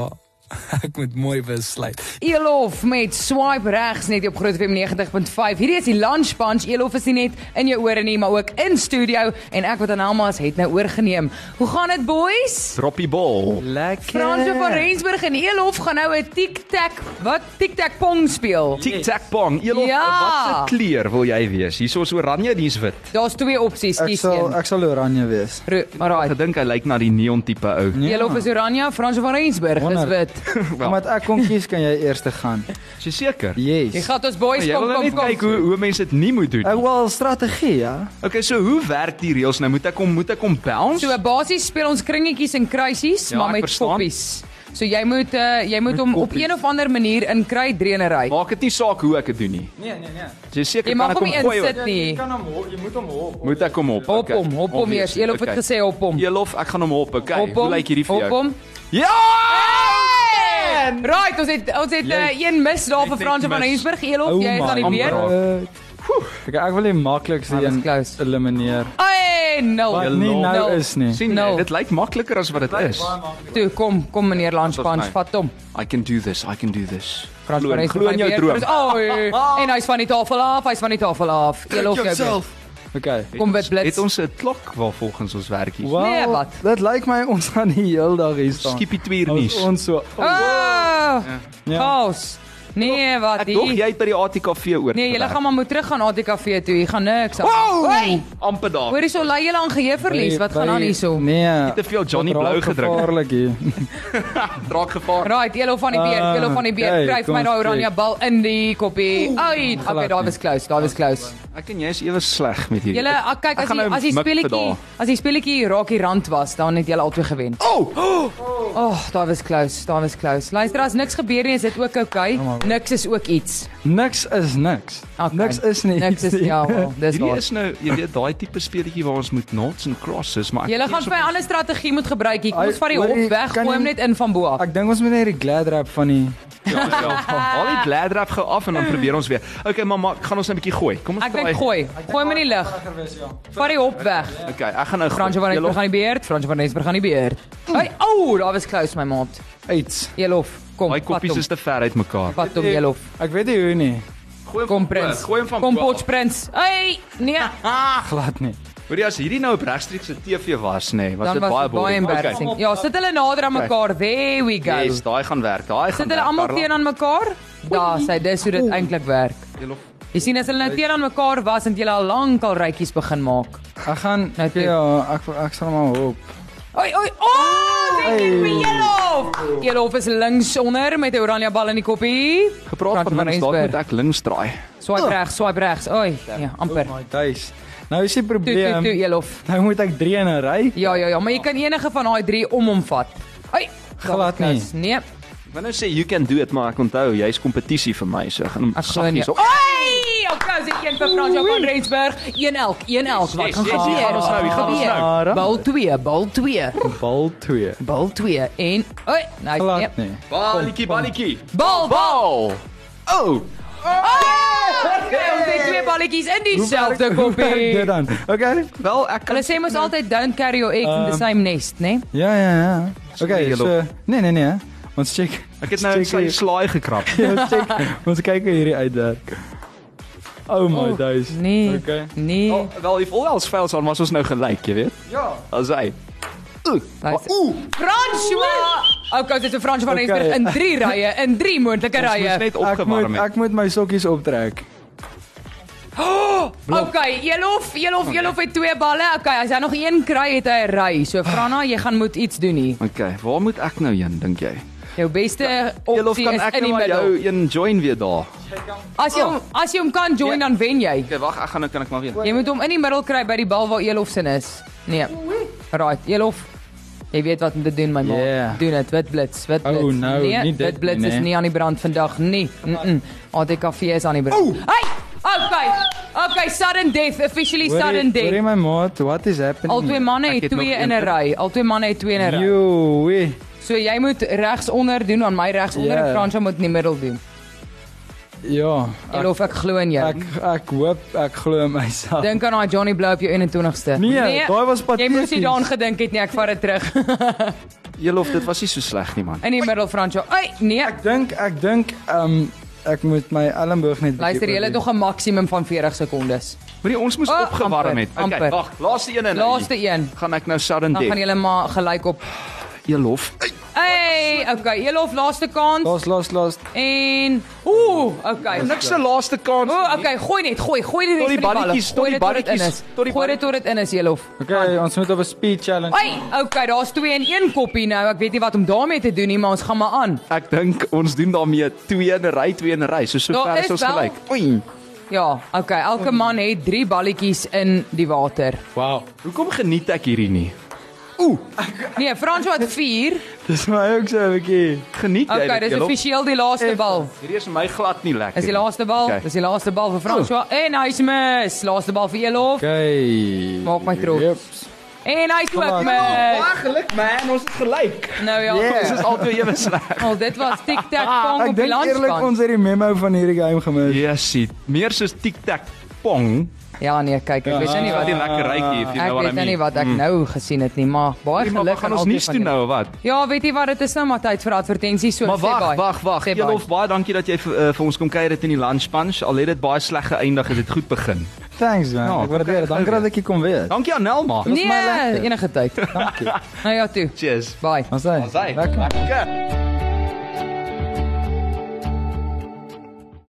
[SPEAKER 2] Ek moet mooi besluit.
[SPEAKER 5] Elof met swipe regs net op Groot FM 90.5. Hierdie is die lunch punch. Elof is nie net in jou ore nie, maar ook in studio en ek wat aan Alma's het nou oorgeneem. Hoe gaan dit boys?
[SPEAKER 1] Droppie ball.
[SPEAKER 4] Lekker.
[SPEAKER 5] Fransjo van Rensburg en Elof gaan nou 'n tic tac wat tic tac pong speel.
[SPEAKER 1] Tic tac pong. Elof,
[SPEAKER 5] Ja.
[SPEAKER 1] wat se kleur wil jy wees? Hierso is oranje, dis wit.
[SPEAKER 5] Daar's twee opsies,
[SPEAKER 4] Ek
[SPEAKER 5] kies
[SPEAKER 4] sal
[SPEAKER 5] een.
[SPEAKER 4] ek sal oranje wees.
[SPEAKER 5] Ro- Maar
[SPEAKER 1] Ek
[SPEAKER 5] right.
[SPEAKER 1] dink hy lyk na die neon tipe ou.
[SPEAKER 5] Elof is oranje, Fransjo van Rensburg is
[SPEAKER 4] Wonder.
[SPEAKER 5] wit.
[SPEAKER 1] Wel.
[SPEAKER 4] Omdat ek kon kies, kan jy eers te gaan.
[SPEAKER 1] Is jy seker?
[SPEAKER 5] Jy
[SPEAKER 4] Yes.
[SPEAKER 5] gaan ons boys
[SPEAKER 1] Jy
[SPEAKER 5] kom
[SPEAKER 1] wil nou
[SPEAKER 5] kom
[SPEAKER 1] net kyk
[SPEAKER 5] kom.
[SPEAKER 1] hoe hoe mense dit nie moet doen.
[SPEAKER 4] Ek wil strategie, ja.
[SPEAKER 1] Okay, so hoe werk die reëls nou? Moet ek hom moet ek hom bounce?
[SPEAKER 5] So basies speel ons kringetjies en kruisies,
[SPEAKER 1] Ja,
[SPEAKER 5] ja, maar
[SPEAKER 1] ek
[SPEAKER 5] met
[SPEAKER 1] verstaan.
[SPEAKER 5] poppies. So jy moet uh, jy moet hom op
[SPEAKER 1] koppies.
[SPEAKER 5] een of ander manier in kry drie in 'n ry.
[SPEAKER 1] Maak dit nie saak hoe ek dit doen nie.
[SPEAKER 4] Nee, nee, nee.
[SPEAKER 1] Is Jy seker
[SPEAKER 5] Jy
[SPEAKER 1] kan
[SPEAKER 5] mag
[SPEAKER 1] ek
[SPEAKER 5] hom
[SPEAKER 1] hom
[SPEAKER 5] nie
[SPEAKER 1] gooi? of-
[SPEAKER 5] insit nie.
[SPEAKER 4] kan hom hop, jy moet hom hop.
[SPEAKER 1] Moet ek hom op?
[SPEAKER 5] Hop
[SPEAKER 1] Okay.
[SPEAKER 5] hom, hop hom eers. Elof het
[SPEAKER 1] Okay.
[SPEAKER 5] gesê hop hom.
[SPEAKER 1] Elof, ek gaan hom hop. Okay.
[SPEAKER 5] Hop
[SPEAKER 1] Hoe
[SPEAKER 5] hom.
[SPEAKER 1] lyk hierdie vir jou?
[SPEAKER 5] Hop hom.
[SPEAKER 1] Ja! Man!
[SPEAKER 5] Right, ons het ons het uh, een mis daar vir
[SPEAKER 1] het
[SPEAKER 5] Frans
[SPEAKER 1] mis.
[SPEAKER 5] van
[SPEAKER 1] Oh
[SPEAKER 5] Rensburg. Elof, jy is aan die
[SPEAKER 1] amper
[SPEAKER 5] weer.
[SPEAKER 1] al.
[SPEAKER 4] Eh, Ek ek wil die maklikste
[SPEAKER 5] Hy was
[SPEAKER 4] een
[SPEAKER 5] close.
[SPEAKER 4] elimineer.
[SPEAKER 5] Ai,
[SPEAKER 4] Wat
[SPEAKER 5] no.
[SPEAKER 4] nie nou
[SPEAKER 5] No.
[SPEAKER 4] is nie.
[SPEAKER 1] sien jy,
[SPEAKER 5] No.
[SPEAKER 1] dit lyk makliker as wat dit is.
[SPEAKER 5] Toe kom, kom meneer
[SPEAKER 1] Dit
[SPEAKER 5] Landspans,
[SPEAKER 1] was my.
[SPEAKER 5] vat hom.
[SPEAKER 1] I can do this. I can do this.
[SPEAKER 5] Frans van Rensburg.
[SPEAKER 1] glo in jou droom.
[SPEAKER 5] Oh, en hy's van die tafel af, hy's van die tafel af. Elof jou. weer.
[SPEAKER 4] Okay.
[SPEAKER 5] Kom wit blits.
[SPEAKER 1] Het ons 'n klok waar volgens ons werk hier?
[SPEAKER 5] Nee,
[SPEAKER 4] Wel,
[SPEAKER 5] wat?
[SPEAKER 4] dit lyk my ons gaan die heel dag hier staan.
[SPEAKER 1] Skippie 2 uur
[SPEAKER 4] Ons
[SPEAKER 1] nuus.
[SPEAKER 4] ons so.
[SPEAKER 5] Ah!
[SPEAKER 4] Ja.
[SPEAKER 5] Chaos. Nee, wat
[SPEAKER 1] Ek dog
[SPEAKER 5] hier?
[SPEAKER 1] jy het by die ATKV oor.
[SPEAKER 5] Nee, julle gaan maar moet terug gaan ATKV toe. Hier gaan niks aan. Hey!
[SPEAKER 1] amper daar.
[SPEAKER 5] Hoor hierso, lei julle aan geheueverlies. Wat gaan aan hierso?
[SPEAKER 4] Nee.
[SPEAKER 1] Te veel Johnny
[SPEAKER 4] dit raak
[SPEAKER 1] Blou gedrink.
[SPEAKER 4] Gevaarlik hier.
[SPEAKER 1] Draak gevaar.
[SPEAKER 5] Right, Elo van die beer,
[SPEAKER 4] Ah,
[SPEAKER 5] Elo van die beer,
[SPEAKER 4] kyk,
[SPEAKER 5] kry vir
[SPEAKER 4] kom
[SPEAKER 5] my daai
[SPEAKER 4] ons
[SPEAKER 5] oranje
[SPEAKER 4] kyk.
[SPEAKER 5] bal in die koppie. Ai, okay, daai was close, daai was close.
[SPEAKER 1] Ek en jy is ewe sleg met hierdie.
[SPEAKER 5] Julle, ah,
[SPEAKER 1] Ek
[SPEAKER 5] kyk as
[SPEAKER 1] gaan
[SPEAKER 5] die
[SPEAKER 1] nou
[SPEAKER 5] as die
[SPEAKER 1] mik vir
[SPEAKER 5] speletjie,
[SPEAKER 1] daar.
[SPEAKER 5] as die speletjie raak die rand was, dan het julle albei gewen.
[SPEAKER 1] Oh! oh!
[SPEAKER 5] Oh, daai was close, daai was close. Luister, as niks gebeur nie, is dit ook okay. Niks is ook iets.
[SPEAKER 4] Niks is niks.
[SPEAKER 5] Okay.
[SPEAKER 4] Niks is nie.
[SPEAKER 5] Niks is
[SPEAKER 4] iets nie.
[SPEAKER 5] ja, wel, dis
[SPEAKER 1] Hierdie
[SPEAKER 5] waar.
[SPEAKER 1] is nou, jy weet, daai tipe speletjie waar ons moet knots en crosses, maar ek
[SPEAKER 5] Julle
[SPEAKER 1] kies
[SPEAKER 5] gaan
[SPEAKER 1] op-
[SPEAKER 5] vir 'n ander strategie moet gebruik hier. Kom
[SPEAKER 4] Ai,
[SPEAKER 5] ons vat die
[SPEAKER 4] hoor,
[SPEAKER 5] hop
[SPEAKER 4] ek
[SPEAKER 5] weg,
[SPEAKER 4] kan
[SPEAKER 5] gooi hom
[SPEAKER 4] nie-
[SPEAKER 5] net in van bo af.
[SPEAKER 4] Ek dink ons moet net die glad wrap van die
[SPEAKER 1] Ja, ja. Haal die bladrap gou af en dan probeer ons weer. Okay, maar maar gaan ons net 'n bietjie gooi. Kom ons
[SPEAKER 5] Ek dink gooi, gooi hom in die lug. Vat die hop weg.
[SPEAKER 1] Okay, ek gaan nou gooi.
[SPEAKER 5] Fransjo van
[SPEAKER 1] Jy
[SPEAKER 5] Rensburg
[SPEAKER 1] loop-
[SPEAKER 5] aan die beurt, Fransjo van Rensburg aan die beurt. Hey, ou, oh, daar was close my maat.
[SPEAKER 4] uit.
[SPEAKER 5] Elof, kom.
[SPEAKER 1] Daai koppies is te ver uit mekaar.
[SPEAKER 5] Wat om Elof.
[SPEAKER 4] Ek weet nie hoe nie.
[SPEAKER 1] Gooi
[SPEAKER 5] Kom prins.
[SPEAKER 1] Gooi hom van
[SPEAKER 5] Kom
[SPEAKER 1] bo af.
[SPEAKER 5] Potch prins. Hey, nee.
[SPEAKER 4] Glad nie.
[SPEAKER 1] Hoor jy as hierdie nou op regstreekse TV was nê, nee, was
[SPEAKER 5] Dan
[SPEAKER 1] dit
[SPEAKER 5] was
[SPEAKER 1] baie
[SPEAKER 5] dit baie
[SPEAKER 1] boring.
[SPEAKER 5] embarrassing. Okay. Ja, sit hulle nader aan mekaar. There we go.
[SPEAKER 1] Yes, daai gaan werk. Daai gaan.
[SPEAKER 5] Sit hulle almal teen aan mekaar? Daar sê dis hoe dit eintlik werk.
[SPEAKER 1] Elof.
[SPEAKER 5] Jy sien as hulle nou teen aan mekaar was en jy al lank al rytjies begin maak.
[SPEAKER 4] Ek gaan
[SPEAKER 5] Nou,
[SPEAKER 4] ja, ek ek sal maar hoop.
[SPEAKER 5] Oei, oei, o! Elof is links onder met 'n oranje bal in die koppie.
[SPEAKER 1] Gepraat van winners, daar moet ek links draai.
[SPEAKER 5] Swipe regs, swipe regs. Oei, ja, amper.
[SPEAKER 4] My tuis. Nou is die
[SPEAKER 5] Toe toe toe
[SPEAKER 4] probleem.
[SPEAKER 5] Elof.
[SPEAKER 4] Nou moet ek 3 in 'n ry.
[SPEAKER 5] Ja ja ja, maar jy kan enige van daai 3 om hom vat. Oei,
[SPEAKER 4] Glad nie.
[SPEAKER 5] Kous. Nee.
[SPEAKER 1] Wanneer sê you can do it, maar ek onthou jy's kompetisie vir my, so ek gaan hom
[SPEAKER 5] Ag so nee.
[SPEAKER 1] saggies op.
[SPEAKER 5] Oei, okay, sit een vir Frans Johan Rensburg, een elk, een elk. Wat
[SPEAKER 1] yes,
[SPEAKER 5] gaan
[SPEAKER 1] yes, hier gaan ons nou, hier gaan ons nou.
[SPEAKER 4] Ara.
[SPEAKER 5] Bal 2, bal 2,
[SPEAKER 4] Bal 2.
[SPEAKER 5] bal 2 en oei, nice. nee.
[SPEAKER 4] Glad nie.
[SPEAKER 1] Balletjie, balletjie.
[SPEAKER 5] Bal bal.
[SPEAKER 1] Bal. Oh,
[SPEAKER 5] Okay, ons het twee balletjies in dieselfde
[SPEAKER 4] Hoe werk Dit
[SPEAKER 5] koppie.
[SPEAKER 4] dan. Okay.
[SPEAKER 1] wel ek kan
[SPEAKER 5] Hulle sê mos altyd don't carry your eggs in the
[SPEAKER 1] Ehm.
[SPEAKER 5] same nest, né? Nee?
[SPEAKER 4] Ja ja ja. Okay,
[SPEAKER 1] hier
[SPEAKER 4] so nee nee nee. Ons check.
[SPEAKER 1] ek het nou in
[SPEAKER 4] check
[SPEAKER 1] sy
[SPEAKER 4] hier-
[SPEAKER 1] slaai gekrap.
[SPEAKER 4] ons check. Ons kyk hoe hierdie uitwerk. Oh my
[SPEAKER 5] Oh,
[SPEAKER 4] days.
[SPEAKER 5] Nee.
[SPEAKER 4] Okay.
[SPEAKER 5] Nee.
[SPEAKER 1] Wel, Wel, if all else fails on was ons nou gelyk, jy weet. Ja. As hy. Oh.
[SPEAKER 5] Ooh, François. Okay, dit is 'n François van
[SPEAKER 4] Okay.
[SPEAKER 5] Rensburg in 3 rye, in 3 moontlike
[SPEAKER 1] Ons
[SPEAKER 5] rye.
[SPEAKER 1] net
[SPEAKER 4] Ek moet
[SPEAKER 1] opgewarm het.
[SPEAKER 4] ek moet my sokkies optrek.
[SPEAKER 5] Okay, Elof, Elof, Elof het twee balle. Okay, as hy nog een kry, het hy 'n ry. So Franna, jy gaan moet iets doen hier.
[SPEAKER 1] Okay, waar moet ek nou heen dink jy?
[SPEAKER 5] Jou beste
[SPEAKER 1] Elof
[SPEAKER 5] opsie
[SPEAKER 1] kan
[SPEAKER 5] is
[SPEAKER 1] ek
[SPEAKER 5] in
[SPEAKER 1] nou
[SPEAKER 5] die
[SPEAKER 1] maar jou Oh.
[SPEAKER 5] middel.
[SPEAKER 1] een join weer daar.
[SPEAKER 5] As jy hom, as jy hom kan join dan wen jy.
[SPEAKER 1] Okay, wag, ek gaan nou kan ek maar weer.
[SPEAKER 5] Jy moet hom in die middel kry by die bal waar Elof sin is. Nee. Right, Elof. Jy weet wat om te doen my ma.
[SPEAKER 4] Yeah.
[SPEAKER 5] Doen dit, wit blits, wit blits.
[SPEAKER 4] Oh, nou,
[SPEAKER 5] nee,
[SPEAKER 4] nie dit
[SPEAKER 5] wit blits
[SPEAKER 4] nie,
[SPEAKER 5] is
[SPEAKER 4] nee.
[SPEAKER 5] nie aan die brand vandag nie. Mm -mm. ATKV is aan die brand. Oh. Hey! Okay. Okay, sudden death, officially sudden
[SPEAKER 4] Hoor jy
[SPEAKER 5] death.
[SPEAKER 4] my maat, what is happening?
[SPEAKER 5] Al twee manne
[SPEAKER 1] Ek
[SPEAKER 5] het
[SPEAKER 1] het nog
[SPEAKER 5] twee in
[SPEAKER 1] een
[SPEAKER 5] 'n
[SPEAKER 1] punt.
[SPEAKER 5] ry. Al twee manne het twee in 'n ry.
[SPEAKER 4] Joe.
[SPEAKER 5] So jy moet regs onder doen aan my regs onder
[SPEAKER 4] Ja.
[SPEAKER 5] en Fransjo moet in die middel doen.
[SPEAKER 4] Ja. Ek,
[SPEAKER 5] Elof, ek glo in jou.
[SPEAKER 4] ek ek hoop ek glo in myself.
[SPEAKER 5] Dink aan daai Johnny Blow op jou 21ste.
[SPEAKER 4] Nee, daai was
[SPEAKER 5] Jy moes nie
[SPEAKER 4] pateties.
[SPEAKER 5] daaraan gedink het nie, ek vat dit terug.
[SPEAKER 1] Elof, dit was nie so sleg nie man.
[SPEAKER 5] In die middel Fransjo. Ai, nee.
[SPEAKER 4] Ek dink ek dink ehm um, ek moet my elmboog net bietjie
[SPEAKER 5] Luister, jy het
[SPEAKER 4] oorleef.
[SPEAKER 5] nog 'n maksimum van 40 sekondes.
[SPEAKER 1] Moenie ons moes
[SPEAKER 5] Oh,
[SPEAKER 1] opgewarm
[SPEAKER 5] amper,
[SPEAKER 1] het.
[SPEAKER 5] amper.
[SPEAKER 1] Okay, wag, laaste een en
[SPEAKER 5] Laaste een.
[SPEAKER 1] gaan ek nou sudden
[SPEAKER 5] Dan gaan
[SPEAKER 1] death.
[SPEAKER 5] julle maar gelyk op.
[SPEAKER 1] Elof.
[SPEAKER 5] Hey, okay, Elof laaste kans
[SPEAKER 4] Los los los.
[SPEAKER 5] en ooh, okay.
[SPEAKER 1] Niks se laaste kans.
[SPEAKER 5] Ooh, okay, gooi net, gooi, gooi die res
[SPEAKER 1] Tot die
[SPEAKER 5] van die balle.
[SPEAKER 1] balletjies, tot
[SPEAKER 5] Gooi
[SPEAKER 1] die
[SPEAKER 5] dit tot dit in
[SPEAKER 1] balletjies,
[SPEAKER 5] is.
[SPEAKER 1] tot die
[SPEAKER 5] Gooi dit
[SPEAKER 1] balletjies.
[SPEAKER 5] tot dit in is, Elof.
[SPEAKER 4] Okay, ons moet op 'n speed challenge.
[SPEAKER 5] Ai, okay, daar's 2 in 1 koppie nou. Ek weet nie wat om daarmee te doen nie, maar ons gaan maar aan.
[SPEAKER 1] Ek dink ons doen daarmee 2 in 'n ry, 2 in 'n ry. So
[SPEAKER 5] Daar
[SPEAKER 1] sover
[SPEAKER 5] is
[SPEAKER 1] is ons
[SPEAKER 5] wel-
[SPEAKER 1] gelyk. Oei.
[SPEAKER 5] Ja, okay, elke man het 3 balletjies in die water.
[SPEAKER 4] Wow.
[SPEAKER 1] Hoekom geniet ek hierdie nie?
[SPEAKER 5] Nee, Fransjo het 4.
[SPEAKER 4] Dis my ook so 'n bietjie.
[SPEAKER 1] Geniet jy
[SPEAKER 5] Okay,
[SPEAKER 1] dit,
[SPEAKER 5] dis
[SPEAKER 1] Elof?
[SPEAKER 5] offisieel die laaste bal.
[SPEAKER 1] Hierdie is vir my glad nie lekker.
[SPEAKER 5] Dis die laaste bal.
[SPEAKER 1] Okay.
[SPEAKER 5] Dis die laaste bal vir Fransjo. En hy's mis. Laaste bal vir Elof.
[SPEAKER 4] Okay.
[SPEAKER 5] Maak my trots. En hy ook
[SPEAKER 4] Kom
[SPEAKER 5] met.
[SPEAKER 1] Ongeluk man, ons is gelyk.
[SPEAKER 5] Nou ja,
[SPEAKER 1] Ons
[SPEAKER 5] yeah.
[SPEAKER 1] is albei ewe sleg.
[SPEAKER 5] al dit was tic tac pong
[SPEAKER 4] Ek
[SPEAKER 5] op die
[SPEAKER 4] dink eerlik
[SPEAKER 5] landskant.
[SPEAKER 4] ons het die memo van hierdie game
[SPEAKER 1] Ja.
[SPEAKER 4] gemis.
[SPEAKER 1] Yesie, meer soos tic tac pong.
[SPEAKER 5] Ja nee, kyk, ek weet nou nie
[SPEAKER 1] Wat
[SPEAKER 5] wat
[SPEAKER 1] die lekker rykie hier, if you
[SPEAKER 5] ek
[SPEAKER 1] know what I
[SPEAKER 5] weet nou nie
[SPEAKER 1] mean.
[SPEAKER 5] wat ek nou gesien het nie, maar baie
[SPEAKER 1] Maar wat
[SPEAKER 5] geluk
[SPEAKER 1] gaan
[SPEAKER 5] aan
[SPEAKER 1] ons
[SPEAKER 5] albei
[SPEAKER 1] nuus
[SPEAKER 5] van
[SPEAKER 1] doen
[SPEAKER 5] julle.
[SPEAKER 1] nou of wat?
[SPEAKER 5] Ja, weet jy wat dit is nou maar tyd vir advertensies so
[SPEAKER 1] Maar
[SPEAKER 5] sê
[SPEAKER 1] wag,
[SPEAKER 5] bye.
[SPEAKER 1] wag, wag.
[SPEAKER 5] Sê bye.
[SPEAKER 1] Elof, baie dankie dat jy vir, uh, vir ons kom kuier het in die lunch punch. Al het dit baie sleg geëindig, het dit goed begin.
[SPEAKER 4] Thanks man.
[SPEAKER 1] Ja,
[SPEAKER 4] ek waardeer dit. Dankie dat ek hier kom weer.
[SPEAKER 1] Dankie aan Nelma.
[SPEAKER 4] was my
[SPEAKER 5] Nee,
[SPEAKER 4] lekker.
[SPEAKER 5] enige tyd.
[SPEAKER 4] Dankie.
[SPEAKER 5] Nou ja toe.
[SPEAKER 1] Cheers.
[SPEAKER 5] Bye.
[SPEAKER 4] Ons sien.
[SPEAKER 1] Sy.
[SPEAKER 4] Lekker.
[SPEAKER 1] Lekker.